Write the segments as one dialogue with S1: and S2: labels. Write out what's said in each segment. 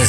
S1: Ez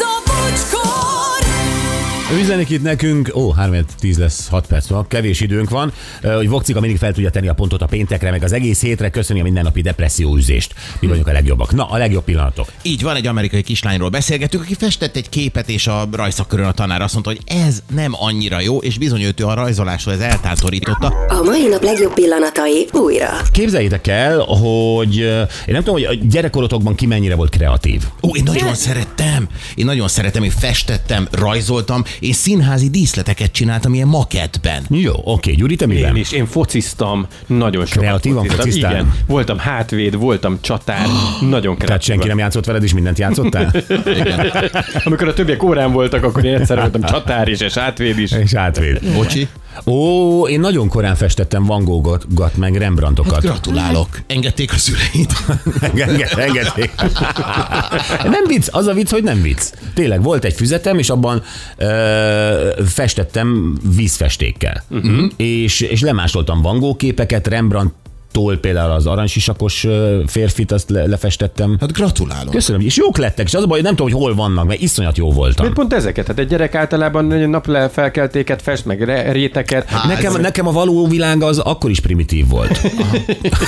S2: a bocskor!
S3: Üzenik itt nekünk, ó, 3 10 lesz, 6 perc van, kevés időnk van, ö, hogy Vokcika mindig fel tudja tenni a pontot a péntekre, meg az egész hétre, köszöni a mindennapi depresszióüzést. Mi vagyunk a legjobbak. Na, a legjobb pillanatok.
S4: Így van, egy amerikai kislányról beszélgetünk, aki festett egy képet, és a rajszakörön a tanár azt mondta, hogy ez nem annyira jó, és bizony őt ő a rajzolásról ez eltántorította.
S5: A mai nap legjobb pillanatai újra.
S3: Képzeljétek el, hogy ö, én nem tudom, hogy a gyerekkorotokban ki mennyire volt kreatív.
S4: Ó, én nagyon szerettem, én nagyon szerettem, én festettem, rajzoltam, én színházi díszleteket csináltam ilyen maketben.
S3: Jó, oké, Gyuri, te miben?
S6: Én is, én fociztam, nagyon sokat
S3: Kreatívan fociztál?
S6: Igen, voltam hátvéd, voltam csatár, nagyon kreatív.
S3: Tehát senki nem játszott veled, és mindent játszottál?
S6: Amikor a többiek órán voltak, akkor én egyszer voltam csatár is, és hátvéd is.
S3: és átvéd.
S4: Bocsi,
S3: Ó, én nagyon korán festettem Van Gogh-ot, meg
S6: Hát
S3: Rembrandtokat.
S4: Hát gratulálok, engedték a szüleit.
S3: Enged- Engedték. Nem vicc, az a vicc, hogy nem vicc. Tényleg volt egy füzetem, és abban ö, festettem vízfestékkel. Uh-huh. És, és lemásoltam Van Gogh képeket, Rembrandt Tól például az aranysisakos ö, férfit, azt le- lefestettem.
S4: Hát gratulálok.
S3: Köszönöm, és jók lettek, és az a baj, nem tudom, hogy hol vannak, mert iszonyat jó voltam.
S6: Miért pont ezeket? Hát egy gyerek általában egy nap le felkeltéket fest, meg re- réteket.
S3: Nekem, nekem a való világ az akkor is primitív volt.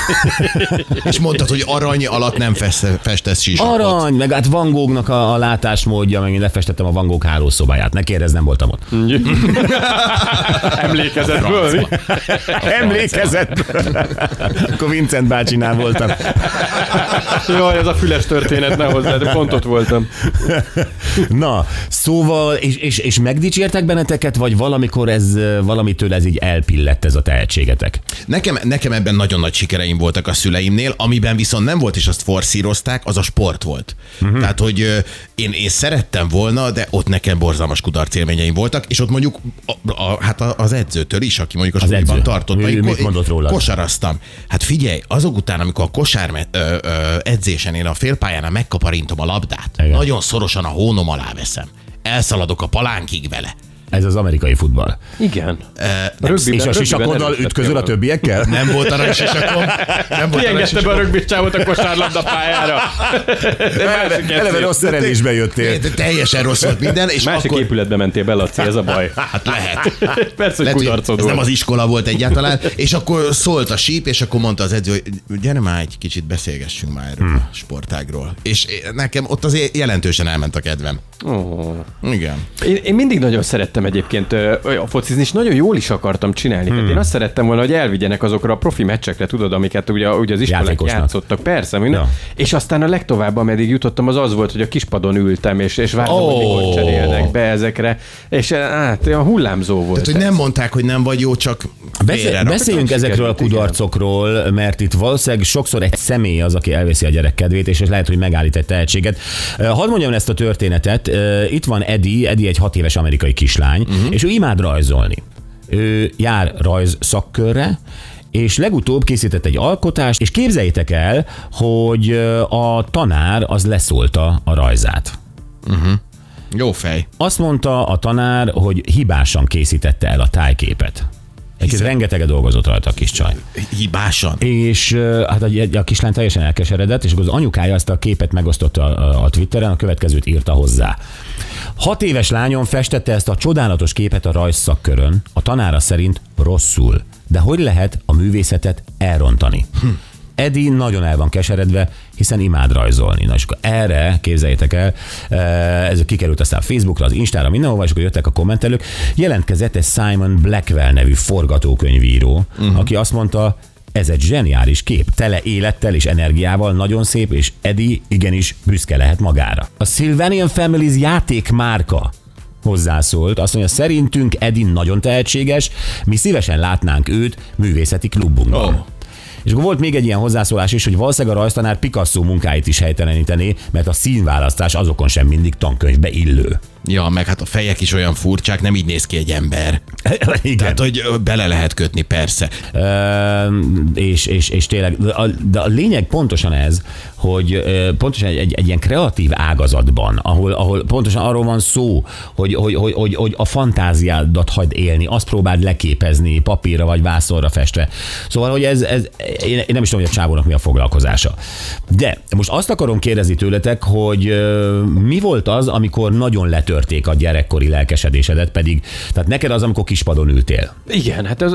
S4: És mondtad, hogy arany alatt nem feste- festesz sisakot.
S3: Arany, meg hát Van Goghnak a, a látásmódja, meg én lefestettem a Van Gogh hálószobáját. Ne kérdezz, nem voltam ott.
S6: Emlékezetből. mi?
S3: Emlékezett. Akkor Vincent bácsinál voltam.
S6: Jaj, ez a füles történet, ne hozzád, pont ott voltam.
S3: Na, szóval, és, és, és megdicsértek benneteket, vagy valamikor ez, ö, valamitől ez így elpillett ez a tehetségetek?
S4: Nekem, nekem ebben nagyon nagy sikereim voltak a szüleimnél, amiben viszont nem volt, és azt forszírozták, az a sport volt.
S3: Mhm.
S4: Uh-huh. Tehát, hogy ö, én, én szerettem volna, de ott nekem borzalmas kudarc élményeim voltak, és ott mondjuk a, a, hát a- az edzőtől is, aki mondjuk a suliban
S3: edző.
S4: tartott.
S3: Ő
S4: Én
S3: mit
S4: ko-
S3: mondott
S4: én
S3: rólad?
S4: Kosaraztam. Hát figyelj, azok után, amikor a kosár ö, ö, edzésen én a félpályán megkaparintom a labdát,
S3: Igen.
S4: Igen. nagyon szorosan a hónom alá veszem. Elszaladok a palánkig vele.
S3: Ez az amerikai futball.
S6: Igen.
S3: Rögbiben, és a sisakoddal ütközöl a többiekkel?
S4: Nem volt arra sisakom. Nem volt arra
S6: Kiengedte be a rögbitcsávot a kosárlabda pályára. De másik
S3: Eleve, eleve
S6: edzés.
S3: rossz szerelésbe jöttél.
S4: De teljesen rossz volt minden, és
S6: Másik
S4: akkor...
S6: épületbe mentél be, Laci, ez a baj.
S4: Hát lehet.
S6: Persze, hogy
S4: Lehet, hogy
S6: kudarcod
S4: ez nem az
S6: volt.
S4: iskola volt egyáltalán, és akkor szólt a síp, és akkor mondta az edző, hogy gyere már egy kicsit beszélgessünk már erről
S6: Hmm.
S4: a sportágról. És nekem ott azért jelentősen elment a kedvem.
S6: Ó.
S4: Igen.
S6: Én, én mindig nagyon szerettem egyébként ö, a focizni, és nagyon jól is akartam csinálni. Hmm. Én azt szerettem volna, hogy elvigyenek azokra a profi meccsekre, tudod, amiket ugye, ugye az iskolák
S3: Játékosnak.
S6: játszottak. Persze, minden.
S3: Ja.
S6: Ja. És aztán a legtovább, ameddig jutottam, az az volt, hogy a kispadon ültem, és, és vártam, oh. hogy
S3: Ó.
S6: mikor cserélnek be ezekre. És hát olyan hullámzó volt.
S4: Tehát, hogy nem mondták, hogy nem vagy jó, csak félre
S3: Beszél,
S4: raktak.
S3: beszéljünk
S6: sikerült,
S3: ezekről a
S6: igen.
S3: kudarcokról, mert itt valószínűleg sokszor egy személy az, aki elveszi a gyerek kedvét, és ez lehet, hogy megállít egy tehetséget. Ö, Hadd mondjam el ezt a történetet. Ö, Itt van Edi, Edi egy hat éves amerikai kislány,
S6: Mhm.
S3: uh-huh. és ő imád rajzolni. Ő jár rajz szakkörre, és legutóbb készített egy alkotást, és képzeljétek el, hogy ö, a tanár az leszólta a rajzát.
S4: Jó fej.
S3: Azt mondta a tanár, hogy hibásan készítette el a tájképet. Egy
S4: Hiszen-
S3: rengeteget dolgozott rajta a kis csaj.
S4: Hibásan.
S3: És ö, hát a, a kislány teljesen elkeseredett, és akkor az anyukája azt a képet megosztotta a, a Twitteren, a következőt írta hozzá. Hat éves lányom festette ezt a csodálatos képet a rajzszakkörön, a tanára szerint rosszul. De hogy lehet a művészetet elrontani? Hm. Edi nagyon el van keseredve, hiszen imád rajzolni. Na és akkor erre, képzeljétek el, e, ez kikerült aztán Facebookra, az Instára, mindenhova, és akkor jöttek a kommentelők. Jelentkezett egy Simon Blackwell nevű forgatókönyvíró, uh-huh. aki azt mondta, ez egy zseniális kép, tele élettel és energiával, nagyon szép, és Eddie igenis büszke lehet magára. A Sylvanian Families játékmárka hozzászólt, azt mondja, szerintünk Eddie nagyon tehetséges, mi szívesen látnánk őt művészeti klubunkban. Oh. És akkor volt még egy ilyen hozzászólás is, hogy valószínűleg a rajztanár Picasso munkáit is helytelenítené, mert a színválasztás azokon sem mindig tankönyvbe illő.
S4: Ja, meg hát a fejek is olyan furcsák, nem így néz ki egy ember.
S3: Igen.
S4: Tehát, hogy ö, bele lehet kötni, persze.
S3: Ö, és, és, és tényleg, de a, de a lényeg pontosan ez, hogy ö, pontosan egy, egy, egy ilyen kreatív ágazatban, ahol, ahol pontosan arról van szó, hogy, hogy, hogy, hogy, hogy a fantáziádat hagyd élni, azt próbáld leképezni papírra vagy vászonra festve. Szóval, hogy ez, ez én, én nem is tudom, hogy a csávónak mi a foglalkozása. De most azt akarom kérdezni tőletek, hogy ö, mi volt az, amikor nagyon letörték a gyerekkori lelkesedésedet, pedig, tehát neked az, amikor kispadon ültél.
S6: Igen, hát ez,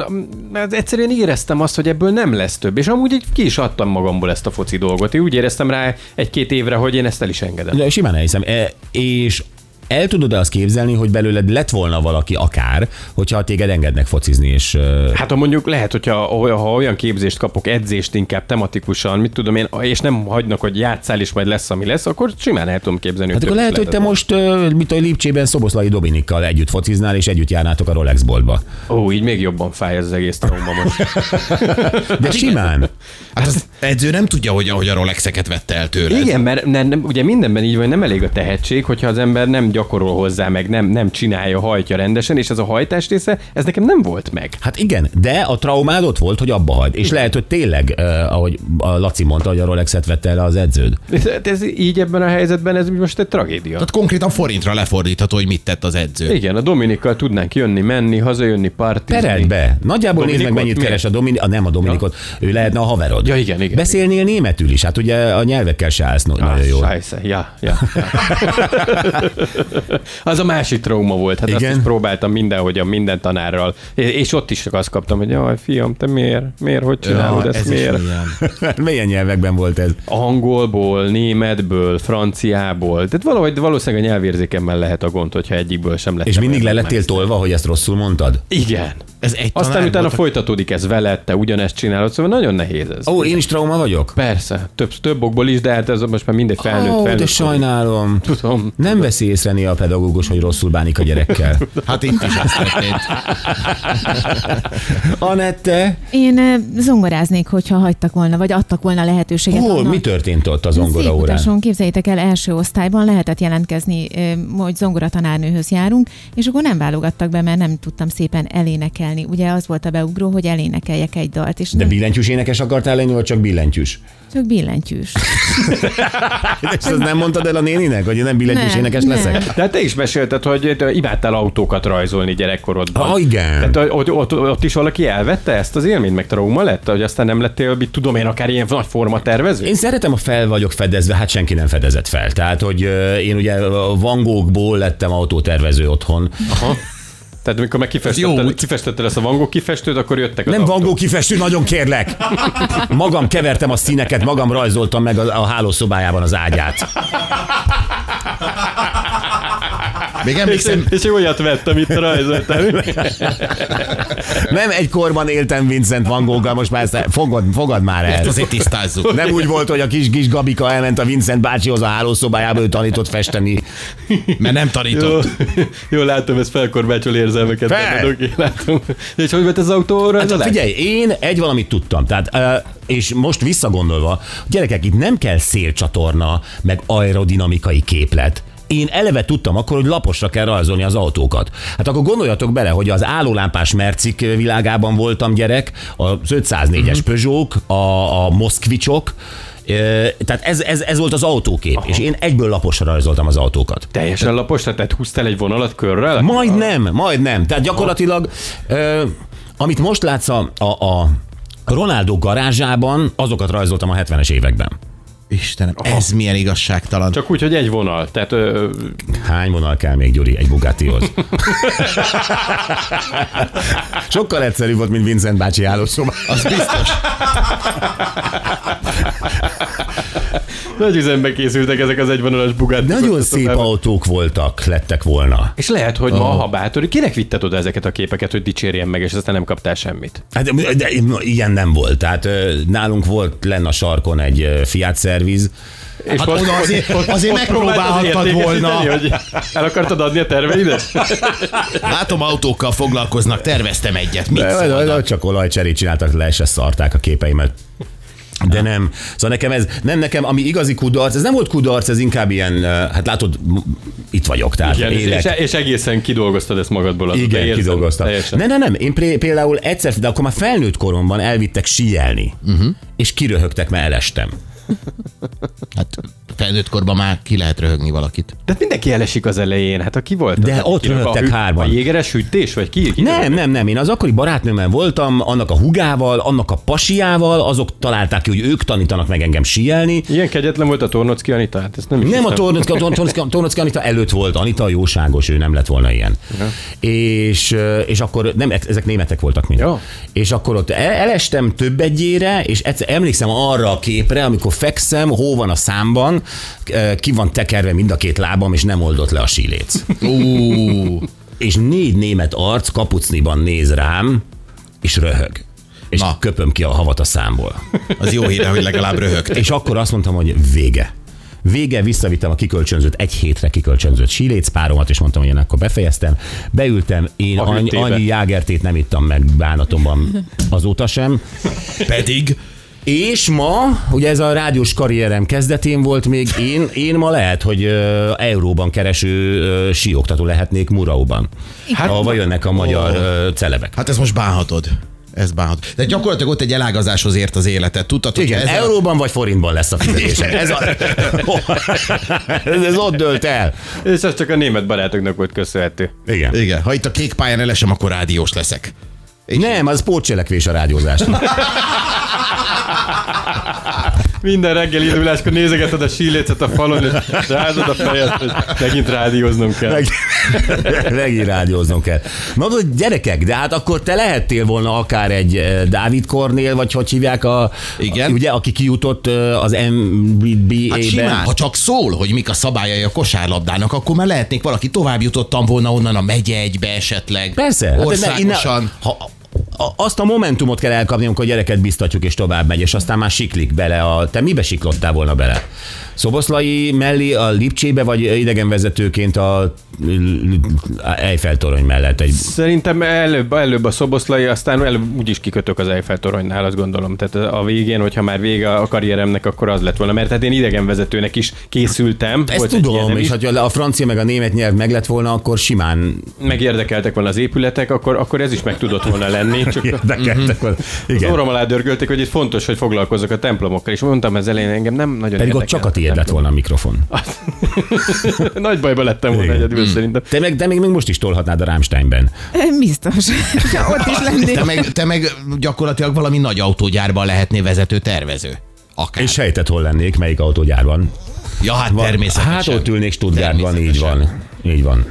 S6: ez egyszerűen éreztem azt, hogy ebből nem lesz több, és amúgy így ki is adtam magamból ezt a foci dolgot. Én úgy éreztem rá egy-két évre, hogy én ezt el is engedem.
S3: De simán elhiszem. E, és el tudod-e azt képzelni, hogy belőled lett volna valaki akár, hogyha téged engednek focizni, és ö,
S6: Hát ha mondjuk lehet, hogyha ha olyan képzést kapok, edzést inkább tematikusan, mit tudom én, és nem hagynak, hogy játszál, és majd lesz, ami lesz, akkor simán el tudom képzelni.
S3: hát akkor
S6: több
S3: lehet, hogy te
S6: ötleted
S3: most, ö, mit a Lipcsében Szoboszlai Dominikkal együtt fociznál, és együtt járnátok a Rolex boltba.
S6: van. Ó, így még jobban fáj ez az egész trauma most.
S3: De simán.
S4: Hát az edző nem tudja, hogy, hogy a Rolexeket vette el tőle.
S6: Igen, mert nem, nem, ugye mindenben így van, nem elég a tehetség, hogyha az ember nem gyakorol hozzá, meg nem, nem csinálja, hajtja rendesen, és ez a hajtás része, ez nekem nem volt meg.
S3: Hát igen, de a traumád ott volt, hogy abba hagyd. És lehet, hogy tényleg, ö, ahogy a Laci mondta, hogy a Rolexet vette el az edződ.
S6: Ez, hát ez így ebben a helyzetben, ez most egy tragédia.
S4: Tehát konkrétan forintra lefordítható, hogy mit tett az edző.
S6: Igen, a Dominikkal tudnánk jönni, menni, hazajönni, partizni.
S3: Pereld be. Nagyjából nézd meg,
S6: Dominikot
S3: mennyit
S6: miért?
S3: keres a Dominik, a, nem a Dominikot, ja. ő lehetne a haverod.
S6: Ja, igen, igen.
S3: Beszélnél németül is, hát ugye a nyelvekkel se állsz no-
S6: Ah,
S3: nagyon jól.
S6: Scheisse. Ja, ja, ja. az a másik trauma volt. Hát
S3: Igen?
S6: azt is próbáltam mindenhogyan, minden tanárral. És ott is csak azt kaptam, hogy jaj, fiam, te miért? Miért? Hogy csinálod
S4: Ja,
S6: ja, ezt?
S4: ez is
S6: Miért?
S4: ilyen.
S3: Milyen nyelvekben volt ez?
S6: Angolból, németből, franciából. Tehát valahogy valószínűleg a nyelvérzékemmel lehet a gond, hogyha egyikből sem lett.
S3: És mindig le lettél tolva, hogy ezt rosszul mondtad?
S6: Igen.
S4: Ez egy
S6: Aztán
S4: tanár
S6: utána
S4: volt,
S6: folytatódik ez veled, te ugyanezt csinálod, szóval nagyon nehéz ez.
S3: Ó, én is trauma vagyok?
S6: Persze, több, több okból is, de hát ez most már mindegy felnőtt,
S3: Ó,
S6: felnőtt.
S3: de sajnálom.
S6: Tudom.
S3: Nem veszi észre néha a pedagógus, hogy rosszul bánik a gyerekkel.
S4: Hát itt is ez történt.
S3: Anette,
S7: Én ö, zongoráznék, hogyha hagytak volna, vagy adtak volna lehetőséget.
S3: hol,
S7: annak.
S3: mi történt ott az zongora órán?
S7: Székutason, képzeljétek el, első osztályban lehetett jelentkezni, ö, hogy zongoratanárnőhöz járunk, és akkor nem válogattak be, mert nem tudtam szépen elénekelni. Ugye az volt a beugró, hogy elénekeljek egy dalt, és
S3: De
S7: nem,
S3: billentyűs énekes akartál lenni, vagy csak billentyűs?
S7: csak billentyűs.
S3: És azt nem mondtad el a néninek, hogy én nem billentyűs
S7: Nem,
S3: énekes
S7: nem.
S3: leszek?
S6: De hát te is mesélted, hogy te imádtál autókat rajzolni gyerekkorodban.
S3: Ah, igen.
S6: Tehát hogy ott, ott, ott, is valaki elvette ezt az élményt, meg trauma lett, hogy aztán nem lettél, mit tudom én, akár ilyen nagy forma tervező?
S3: Én szeretem a fel vagyok fedezve, hát senki nem fedezett fel. Tehát, hogy ö, én ugye a vangókból lettem autótervező otthon.
S6: Aha. Tehát amikor meg
S4: Ez jó
S6: kifestetted,
S4: út.
S6: kifestetted ezt a vangó kifestőt, akkor jöttek az
S3: Nem
S6: autók.
S3: vangó kifestő, nagyon kérlek. Magam kevertem a színeket, magam rajzoltam meg a, a hálószobájában az ágyát.
S4: Még emlékszem,
S6: És én olyat vettem itt rajzoltam.
S3: Nem egy korban éltem Vincent Van Gogh-gal, most már ezt fogad, fogad már el.
S4: azért tisztázzuk.
S3: Nem úgy volt, hogy a kis kis Gabika elment a Vincent bácsihoz a hálószobájába, ő tanított festeni.
S4: Mert nem
S6: Jó,
S4: tanított.
S6: jó, látom, ez felkorbácsol érzelmeket.
S3: Fel!
S6: benned, oké, látom. De és hogy volt ez az autóra?
S3: Hát figyelj, én egy valamit tudtam, tehát, ö, és most visszagondolva, gyerekek, itt nem kell szélcsatorna, meg aerodinamikai képlet. Én eleve tudtam akkor, hogy laposra kell rajzolni az autókat. Hát akkor gondoljatok bele, hogy az állólámpás mercik világában voltam gyerek, az 504-es uh-huh. Peugeot, a, a moszkvicsok, ö, tehát ez, ez, ez volt az autókép, Aha. és én egyből laposra rajzoltam az autókat.
S6: Teljesen lapos, tehát húztál egy vonalat körrel?
S3: Majd nem, majd nem. Tehát gyakorlatilag, ö, amit most látsz a, a, a Ronaldo garázsában, azokat rajzoltam a 70-es években.
S4: Istenem, ez milyen igazságtalan.
S6: Csak úgy, hogy egy vonal. Tehát ö, ö,
S3: Hány vonal kell még, Gyuri, egy Bugattihoz? Sokkal egyszerűbb volt, mint Vincent bácsi állószoba.
S4: Az biztos.
S6: nagy üzembe készültek ezek az egyvonalas bugát.
S3: Nagyon szép Ah. autók voltak, lettek volna.
S6: És lehet, hogy ma, ha bátor, kinek vitted oda ezeket a képeket, hogy dicsérjen meg, és aztán nem kaptál semmit.
S3: Hát, de, de ilyen nem volt. Tehát ö, nálunk volt lenne a sarkon egy ö, Fiat szerviz.
S6: És
S4: Hát oda azért- azért
S6: próbáltad
S4: megpróbálhattad
S6: értékesíteni,
S4: volna.
S6: Hogy el akartad adni a terveidet?
S4: Látom, autókkal foglalkoznak, terveztem egyet. Mit szólnak?
S3: Csak olajcserét csináltak le, és se szarták a képeimet. De nem. Szóval nekem ez, nem nekem, ami igazi kudarc, ez nem volt kudarc, ez inkább ilyen, eh, hát látod, m- itt vagyok, tehát
S6: Igen, és,
S3: élek.
S6: és, és, egészen kidolgoztad ezt magadból. azt te
S3: Igen,
S6: érzed,
S3: kidolgoztam.
S6: teljesen.
S3: Ne, ne, nem, én pré- például egyszer, de akkor már felnőtt koromban elvittek síelni,
S6: Mhm.
S3: uh-huh. és kiröhögtek, mert elestem.
S4: Hát felnőtt korban már ki lehet röhögni valakit.
S6: De hát mindenki elesik az elején, hát aki volt.
S3: De
S6: az,
S3: ott
S6: akinek
S3: röhögtek
S6: a hű-
S3: hárman.
S6: A jégeres hűtés, vagy ki? ki
S3: Nem, nem, nem. Én az akkori barátnőmmel voltam, annak a hugával, annak a pasiával, azok találták ki, hogy ők tanítanak meg engem síelni.
S6: Ilyen kegyetlen volt a Tornocki Anita, hát ezt nem is
S3: Nem a
S6: hiszem.
S3: Tornocki, a Tor- Tornocki, Tornocki Anita előtt volt, Anita a jóságos, ő nem lett volna ilyen. Ja. És, ö, és akkor, nem, e- ezek németek voltak mind.
S6: Ja.
S3: És akkor ott el- elestem több egyére, és egyszer, emlékszem arra a képre, amikor fekszem, hó van a számban, ö, ki van tekerve mind a két lábam, és nem oldott le a síléc.
S4: Ú,
S3: és négy német arc kapucniban néz rám, és röhög. És
S4: Na.
S3: Na. köpöm ki a havat a számból.
S4: az jó hír, hogy legalább röhögtek.
S3: És akkor azt mondtam, hogy vége. Vége, visszavittem a kikölcsönzött, egy hétre kikölcsönzött síléc páromat, és mondtam, hogy én akkor befejeztem. Beültem, én
S6: A
S3: annyi,
S6: hűtébe.
S3: annyi jágertét nem ittam meg bánatomban azóta sem.
S4: Pedig
S3: És ma, ugye ez a rádiós karrierem kezdetén volt még, én, én ma lehet, hogy ö, euróban kereső ö, síoktató lehetnék Murauban. Hát, ahova jönnek a magyar ö, celebek.
S4: Hát ezt most bánhatod. Ez bánhatod. De gyakorlatilag ott egy elágazáshoz ért az életet. Tudtad, hogy
S3: Igen,
S4: ez
S3: ezzel... euróban vagy forintban lesz a fizetésem. Ez, a... ez, ez ott dölt el.
S6: És ez csak a német barátoknak volt köszönhető.
S3: Igen.
S4: Igen, ha itt a kék pályán elesem, akkor rádiós leszek.
S3: Nem, az pótcselekvés a rádiózás.
S6: Minden reggel induláskor nézegeted a sílécet a falon, és rázod a fejed, hogy megint rádióznom kell.
S3: Meg, megint rádióznom kell. Na, de gyerekek, de hát akkor te lehettél volna akár egy eh, Dávid Kornél, vagy hogy hívják a...
S4: Igen.
S3: A, ugye, aki kijutott eh, az MBA-be.
S4: Hát simán, ha csak szól, hogy mik a szabályai a kosárlabdának, akkor már lehetnék valaki tovább jutottam volna onnan a megye egybe esetleg.
S3: Persze. hát ez ne-
S4: Országosan.
S3: innen- ha, a- azt a momentumot kell elkapni, amikor a gyereket biztatjuk, és tovább megy, és aztán már siklik bele. A, te mibe siklottál volna bele? Szoboszlai mellé a Lipcsébe, vagy idegenvezetőként a, a Eiffel torony mellett? Egy,
S6: Szerintem előbb, előbb a szoboszlai, aztán előbb úgyis kikötök az Eiffel toronynál, azt gondolom. Tehát a végén, hogyha már vége a karrieremnek, akkor az lett volna. Mert hát én idegenvezetőnek is készültem.
S3: ezt
S6: volt egy ilyenem
S3: tudom,
S6: is.
S3: és ha a francia meg a német nyelv meg lett volna, akkor simán
S6: megérdekeltek volna az épületek, akkor, akkor ez is meg tudott volna lenni. Csak
S3: érdekeltek volna.
S6: az
S3: Mhm. Igen.
S6: orrom alá dörgölték, hogy itt fontos, hogy foglalkozok a templomokkal, és mondtam ez elején, engem nem nagyon
S3: Pedig ott
S6: érdekel
S3: csak a tiéd lett volna a mikrofon.
S6: templom. Nagy bajba lettem volna
S3: Igen.
S6: egyedül szerintem.
S3: Te meg, de még, még most is tolhatnád a Rámsteinben.
S7: Biztos. Ja, Ott is lennék.
S4: Te meg, te meg gyakorlatilag valami nagy autógyárban lehetnél vezető tervező. Akár.
S3: És sejtett, hol lennék, melyik autógyárban.
S4: ja, hát
S3: Van.
S4: természetesen.
S3: Hát ott ülnék Stuttgartban, így
S4: Természetesen.
S3: van. Így van.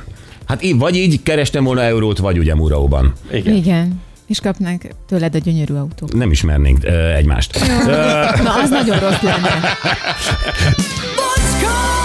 S3: Hát így, vagy így kerestem volna eurót, vagy ugye Muraóban.
S6: Igen.
S7: Igen. És kapnánk tőled a gyönyörű autót.
S3: Nem ismernénk ö, egymást.
S7: Na, az nagyon rossz lenne.
S2: bocskor!